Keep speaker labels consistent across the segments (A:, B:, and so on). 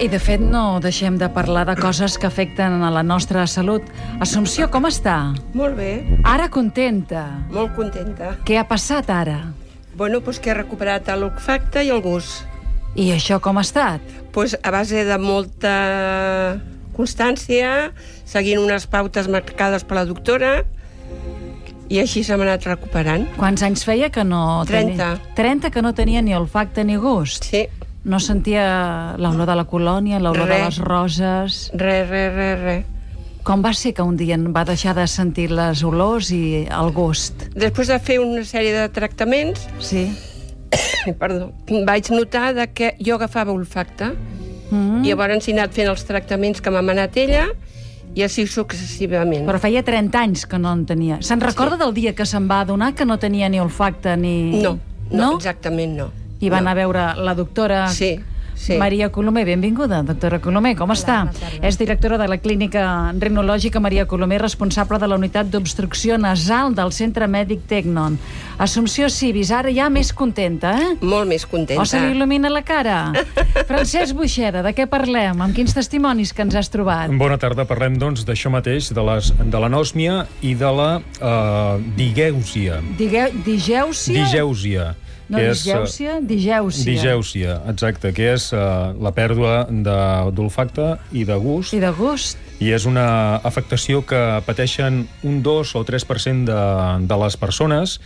A: i de fet no deixem de parlar de coses que afecten a la nostra salut. Assumpció, com està?
B: Molt bé,
A: Ara contenta.
B: molt contenta.
A: Què ha passat ara?
B: Bueno, doncs que he recuperat l'olfacte i el gust.
A: I això com ha estat?
B: Pues a base de molta constància, seguint unes pautes marcades per la doctora, i així se m'ha anat recuperant.
A: Quants anys feia que no... Tenia...
B: 30.
A: 30 que no tenia ni olfacte ni gust.
B: Sí,
A: No sentia l'olor de la colònia, l'olor de
B: Res.
A: les roses...
B: re, re, re, re.
A: Com va ser que un dia en va deixar de sentir les olors i el gust?
B: Després de fer una sèrie de tractaments,
A: Sí?
B: perdó, vaig notar de que jo agafava olfacte.
A: Mm.
B: Mm. I llavors he anat fent els tractaments que m'ha manat ella i així successivament.
A: Però feia 30 anys que no en tenia. Se'n recorda del dia que se'n va adonar que no tenia ni olfacte ni...
B: No, no,
A: no?
B: exactament no.
A: I va anar a veure la doctora
B: Sí, sí.
A: Maria Colomer. Benvinguda, doctora Colomer, com està? És directora de la Clínica Renològica Maria Colomer, responsable de la unitat d'obstrucció nasal del Centre Mèdic Tecnon. Assumpció Civis, ara ja més contenta, eh?
B: Molt més
A: O se li
B: contenta.
A: il·lumina la cara. Francesc Buixeda, de què parlem? Amb quins testimonis que ens has trobat?
C: Bona tarda, parlem doncs d'això mateix, de, les, de l'anòsmia i de la eh, digèusia.
A: Digueu, digèusia?
C: Digèusia.
A: No,
C: que és, eh,
A: digèusia, digèusia.
C: Digèusia, exacte, que és eh, la pèrdua de- d'olfacte i de gust,
A: I de gust.
C: i és una afectació que pateixen un 2 o 3% de, de les persones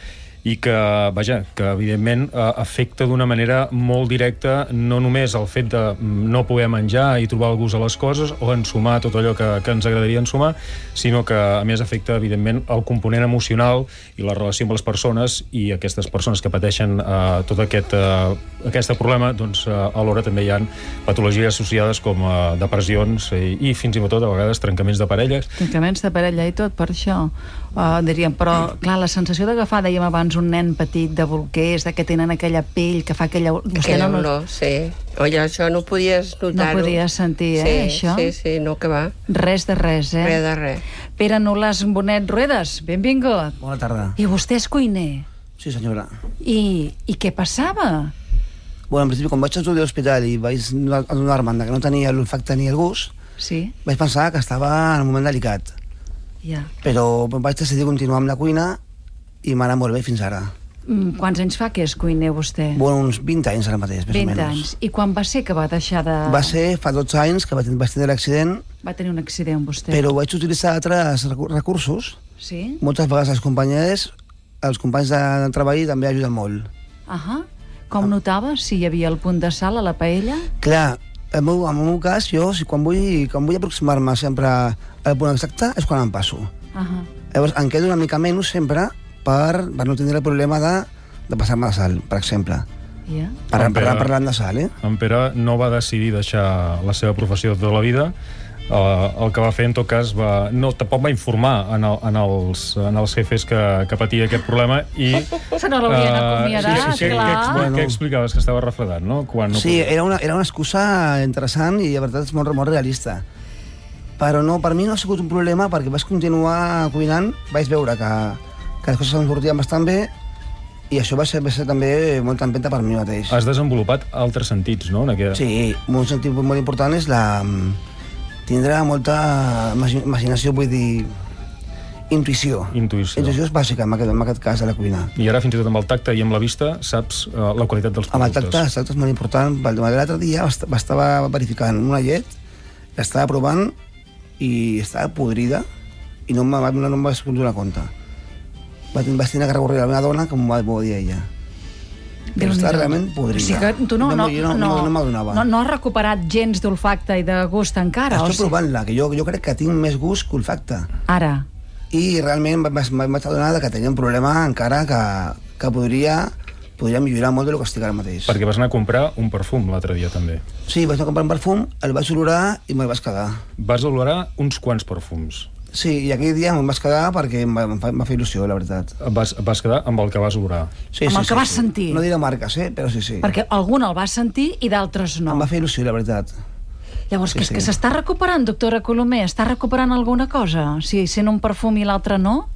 C: i que, vaja, que evidentment eh, afecta d'una manera molt directa no només el fet de mm, no poder menjar i trobar el gust a les coses o ensumar tot allò que, que ens agradaria ensumar, sinó que a més afecta evidentment el component emocional i la relació amb les persones i aquestes persones que pateixen eh, tot aquest, eh, aquest problema, doncs eh, alhora també hi ha patologies associades com eh, depressions i, i fins i tot a vegades trencaments de parelles.
A: Tancaments de parella i tot, per això. Uh, diríem, però, clar, la sensació d'agafar, dèiem abans, un nen petit de bolquers, de que tenen aquella pell que fa aquella... ol- Vostè
B: Aquella
A: no, no,
B: olor, sí. Oi, això no podies notar-ho.
A: podies sentir,
B: sí,
A: eh, això?
B: Sí, sí, no que va.
A: Res de res, eh?
B: Res de res.
A: Pere Nolàs Bonet Ruedas, benvingut.
D: Bona tarda.
A: I vostè és cuiner.
D: Sí, senyora.
A: I, i què passava?
D: Bueno, en principi, quan vaig sortir de l'hospital i vaig adonar-me que no tenia l'olfacte ni el gust,
A: Sí,
D: vaig pensar que estava en un moment delicat.
A: ja.
D: Però vaig decidir continuar amb la cuina i m'ha anat molt bé fins ara.
A: Mm, quants anys fa que és cuiner, vostè?
D: Bueno, uns 20 anys ara mateix, més
A: 20
D: o menys.
A: anys. I quan va ser que va deixar de...
D: Va ser fa 12 anys que vaig vaig tenir l'accident,
A: Va tenir un accident, vostè.
D: però vaig utilitzar altres recu- recursos.
A: Sí?
D: Moltes vegades els companys, els companys de treball també ajuden molt.
A: Ahà. Com notava si hi havia el punt de sal a la paella?
D: Clar, el meu, en el meu cas, jo, si quan vull, quan vull aproximar-me sempre al punt exacte, és quan em passo.
A: Ahà.
D: Llavors, em quedo una mica menys sempre per, per no tindre el problema de, de passar-me de sal, per exemple.
A: Ja.
D: Parla,
C: Em
D: parla,
C: pega.
D: parlant de sal, eh?
C: En Pere no va decidir deixar la seva professió de tota la vida, Uh, el que va fer, en tot cas, va... no, tampoc va informar en, el, en, els, en els jefes que, que patia aquest problema i...
A: Se no
C: Ah,
A: l'haurien acomiadat,
C: que,
A: clar.
C: Que, que,
D: Bueno.
C: que explicaves? Que estava refredat, no? Quan Ah, no
D: sí, era una, era una excusa interessant i, de veritat, és molt, molt realista. Però no, per mi no ha sigut un problema perquè vaig continuar cuinant, vaig veure que, que les coses em sortien bastant bé i això va ser, va ser també molta empenta per mi mateix.
C: Has desenvolupat altres sentits, no? En aquella...
D: Sí, un sentit molt important és la... tindrà molta imagi- imaginació, vull dir, intuïció.
C: Intuïció.
D: Intuïció és bàsica en aquest, en aquest cas de la cuina.
C: I ara, fins i tot amb el tacte i amb la vista, saps eh, la qualitat dels
D: Amb el
C: productes.
D: tacte, el tacte és molt important. pel tema de L'altre dia est- estava verificant una llet, l'estava provant i estava podrida i no, em va- no, no em vaig donar compte. Vaig, vaig tenir que recórrer a la meva dona, com m'ho va dir ella. Però està
A: Déu-n'hi-do.
D: realment podrida.
A: O sigui que tu no, no,
D: jo no, no, no m'adonava.
A: no, no has recuperat gens d'olfacte i de gust encara?
D: Estic
A: o sigui-
D: provant-la, que jo, jo crec que tinc més gust que olfacte.
A: Ara.
D: i realment m'ha- m'ha- m'he adonat que tenia un problema encara que, que podria, podria millorar molt del que estic ara mateix.
C: Perquè vas anar a comprar un perfum l'altre dia, també.
D: Sí, vaig anar a comprar un perfum, el vaig olorar i me'l vaig quedar.
C: Vas olorar uns quants perfums.
D: Sí, i aquell dia me'n vaig quedar perquè em va, em fa- em va fer il·lusió, la veritat.
C: Vas, vas quedar amb el que vas olorar.
D: Sí,
A: Amb
D: sí,
A: el que
D: sí,
A: vas
D: sí.
A: sentir.
D: No diré marques, eh? però sí, sí.
A: Perquè algun el va sentir i d'altres no.
D: Em va fer il·lusió, la veritat.
A: Llavors,
D: Sí,
A: que és
D: sí.
A: que s'està recuperant, doctora Colomer? Està recuperant alguna cosa? Si sent un perfum i l'altre no?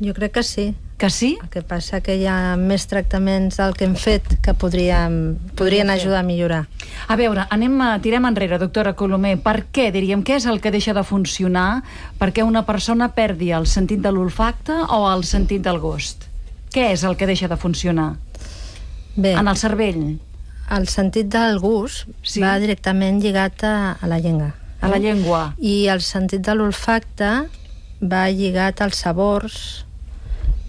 E: Jo crec que sí.
A: Que sí?
E: El que passa que hi ha més tractaments del que hem fet que podríem, podrien ajudar a millorar.
A: A veure, anem a, tirem enrere, doctora Colomer. Per què, diríem, què és el que deixa de funcionar perquè una persona perdi el sentit de l'olfacte o el sentit del gust? Què és el que deixa de funcionar?
E: Bé,
A: En
E: el...
A: el cervell?
E: el sentit del gust
A: Sí.
E: sí. va directament lligat a, a la llengua.
A: A la llengua?
E: I el sentit de l'olfacte va lligat als sabors,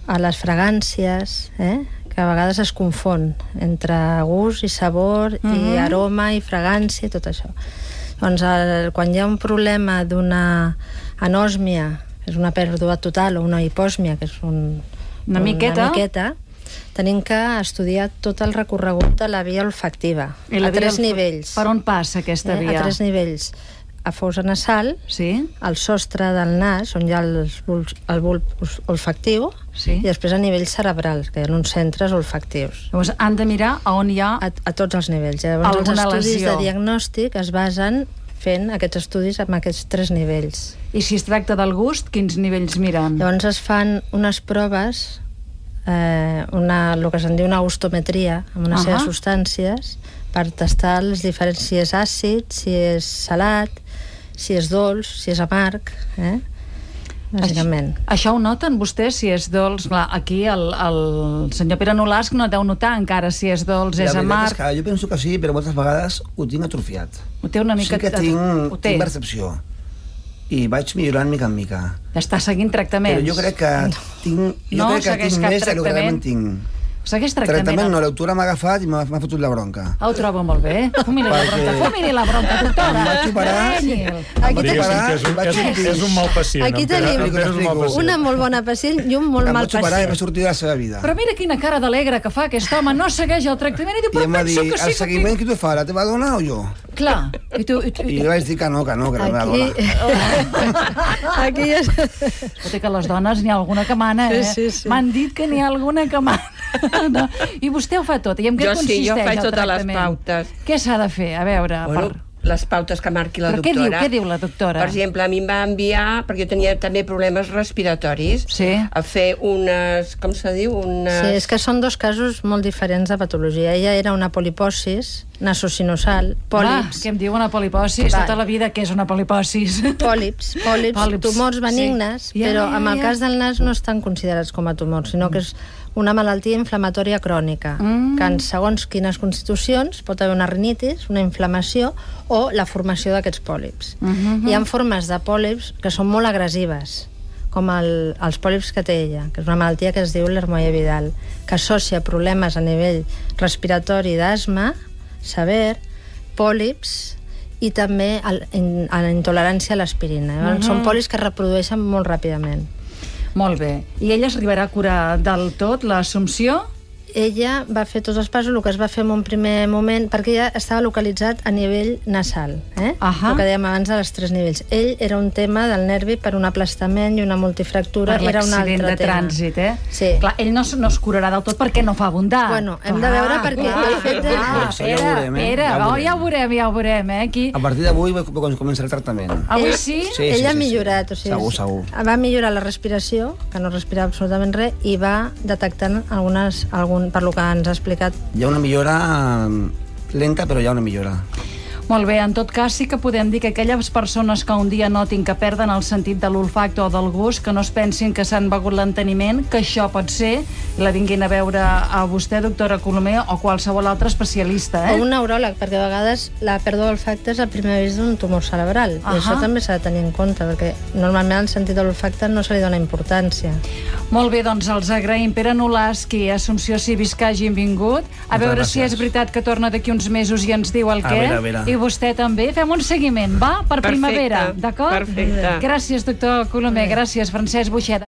E: a les fragàncies, eh? que a vegades es confon entre gust i sabor mm -hmm. i
A: Mhm.
E: aroma i fragància i tot això. Doncs el, quan hi ha un problema d'una anòsmia, que és una pèrdua total, o una hipòsmia, que és un,
A: Una miqueta.
E: una miqueta, tenim que estudiar tot el recorregut de la via olfactiva,
A: I la
E: a tres
A: via-
E: nivells.
A: Per on passa aquesta
E: eh?
A: via?
E: A tres nivells. A fosa nasal,
A: Sí?
E: al sostre del nas, on hi ha el bulb, el bulb us- olfactiu,
A: Sí.
E: i després a nivell cerebral, que hi ha uns centres olfactius.
A: Llavors, han de mirar a on hi ha...
E: A, a tots els nivells. eh? Llavors,
A: Ah. Alguna
E: els estudis
A: lesió.
E: de diagnòstic es basen fent aquests estudis amb aquests tres nivells.
A: I si es tracta del gust, quins nivells miren?
E: Llavors es fan unes proves, eh, una, el que se'n diu una gustometria, amb una uh -huh. sèrie
A: Ahà.
E: de substàncies, per tastar els diferents, si és àcid, si és salat, si és dolç, si és amarg, eh? bàsicament.
A: Això ho noten vostès, si és dolç? Clar, aquí el, el senyor Pere Nolasc no deu notar encara si és dolç, Doncs és
D: La veritat
A: amarg...
D: és que jo penso que sí, però moltes vegades ho tinc atrofiat.
A: Ho té una mica...
D: sí que tinc,
A: Ho té.
D: tinc percepció. I vaig millorant mica en mica.
A: Està seguint tractaments.
D: Però jo crec que tinc, jo
A: No
D: crec que
A: segueix
D: tinc
A: cap
D: més del que
A: tractament.
D: realment tinc.
A: Segueix tractament.
D: Tractament no, l'autora m'ha agafat i m'ha m'ha fotut la bronca.
A: Ah, ho trobo molt bé. Fumi-li la
D: Perquè-
A: bronca, fumi-li la bronca, doctora.
D: Em vaig operar.
A: Daniel.
D: Maria,
E: Aquí tenim,
D: tenim-
C: que és un, és, un, és un mal pacient.
E: Aquí
C: en Pere-
E: tenim
C: en Pere és un mal pacient.
E: una molt bona pacient i un molt
D: Em
E: mal
D: vaig operar i
E: pacient.
D: vaig sortir de la seva vida.
A: Però mira quina cara d'alegre que fa aquest home, no segueix el tractament i diu,
D: I
A: però
D: em va dir,
A: penso que sí
D: el
A: que...
D: seguiment qui t'ho fa, la teva dona o jo?
A: tinc-" Clar, i tu... I tu...
D: I jo vaig dir que no, que no, que era la meva dona.
E: aquí ja...
A: Escolta, que les dones n'hi ha alguna que mana, eh?
E: Sí, sí, sí.
A: M'han dit que n'hi ha alguna que mana. No. I vostè ho fa tot. I en què
B: Jo sí,
A: consisteix
B: jo faig
A: el
B: totes les
A: tractament?
B: pautes.
A: Què s'ha de fer? A veure, Ah,
B: Bueno,
A: per...
B: les pautes que marqui la
A: Però què
B: doctora.
A: diu- què diu la doctora?
B: Per exemple, a mi em va enviar, perquè jo tenia també problemes respiratoris,
A: Sí.
B: a fer unes, com se diu, unes...
E: Sí, és que són dos casos molt diferents de patologia. Ella era una poliposis, nasocinosal, pòlips,
A: Va, què em diu una poliposis?
E: Va.
A: Tota la vida que és una poliposis.
E: pòlips, pòlips,
A: Pòlips,
E: pòlips, tumors
A: sí.
E: benignes,
A: Ja,
E: ja, però
A: ja,
E: amb el
A: ja.
E: cas del nas no estan considerats com a tumors, sinó que és una malaltia inflamatòria crònica,
A: Mm.
E: que en segons quines constitucions pot haver una rinitis, una inflamació o la formació d'aquests pòlips.
A: Mhm.
E: Hi ha formes de pòlips que són molt agressives, com el, els pòlips que té ella, que és una malaltia que es diu l'hermoia vidal, que associa problemes a nivell respiratori d'asma, sever, pòlips i també el, in, a la intolerància a l'aspirina. Mm -hmm. Són pòlips que es reprodueixen molt ràpidament.
A: Molt bé. I ella arribarà a curar del tot l'assumpció?
E: Ella va fer tots els passos, el que es va fer en un primer moment, perquè ella estava localitzat a nivell nasal, eh?
A: Ahà.
E: el que dèiem abans dels tres nivells. Ell era un tema del nervi per un aplastament i una multifractura,
A: per
E: era un altre
A: l'accident de
E: tema.
A: trànsit, eh?
E: Sí.
A: Clar, ell no, es- no es curarà del tot perquè no fa abundar.
E: Bueno, hem de veure perquè el fet de-
A: Clar,
D: Això ja ho
A: Pere,
D: veurem, eh?
A: Pere,
D: Ja ho
A: oh,
D: veurem.
A: ja ho veurem, ja ho veurem, eh? Aquí...
D: A partir d'avui vull com- començar el tractament.
A: Avui
E: Ell-
A: sí?
D: Sí.
E: Ell ha millorat, o sigui,
D: Segur, segur.
E: va millorar la respiració, que no respirava absolutament res, i va detectant algunes, algun, per lo que ens ha explicat,
D: Hi ha una millora eh, lenta, però hi ha una millora.
A: Molt bé, en tot cas sí que podem dir que aquelles persones que un dia notin que perden el sentit de l'olfacte o del gust, que no es pensin que s'han begut l'enteniment, que això pot ser, la vinguin a veure a vostè, doctora Colomer, o qualsevol altre especialista, eh?
E: o un neuròleg, perquè a vegades la pèrdua d'olfacte és el primer avís d'un tumor cerebral, i
A: Ahà.
E: això també s'ha de tenir en compte, perquè normalment el sentit de l'olfacte no se li dona importància.
A: Molt bé, doncs els agraïm. Pere Nolasqui i Assumpció Civis que hagin vingut. A
D: Moltes
A: veure
D: gràcies.
A: si és veritat que torna d'aquí uns mesos i ens diu el
D: A
A: què.
D: veure, a veure.
A: I vostè també. Fem un seguiment, va? Per
B: Perfecte,
A: primavera, d'acord?
B: perfecte.
A: Gràcies, doctor Colomer. Gràcies, Francesc Buixeda.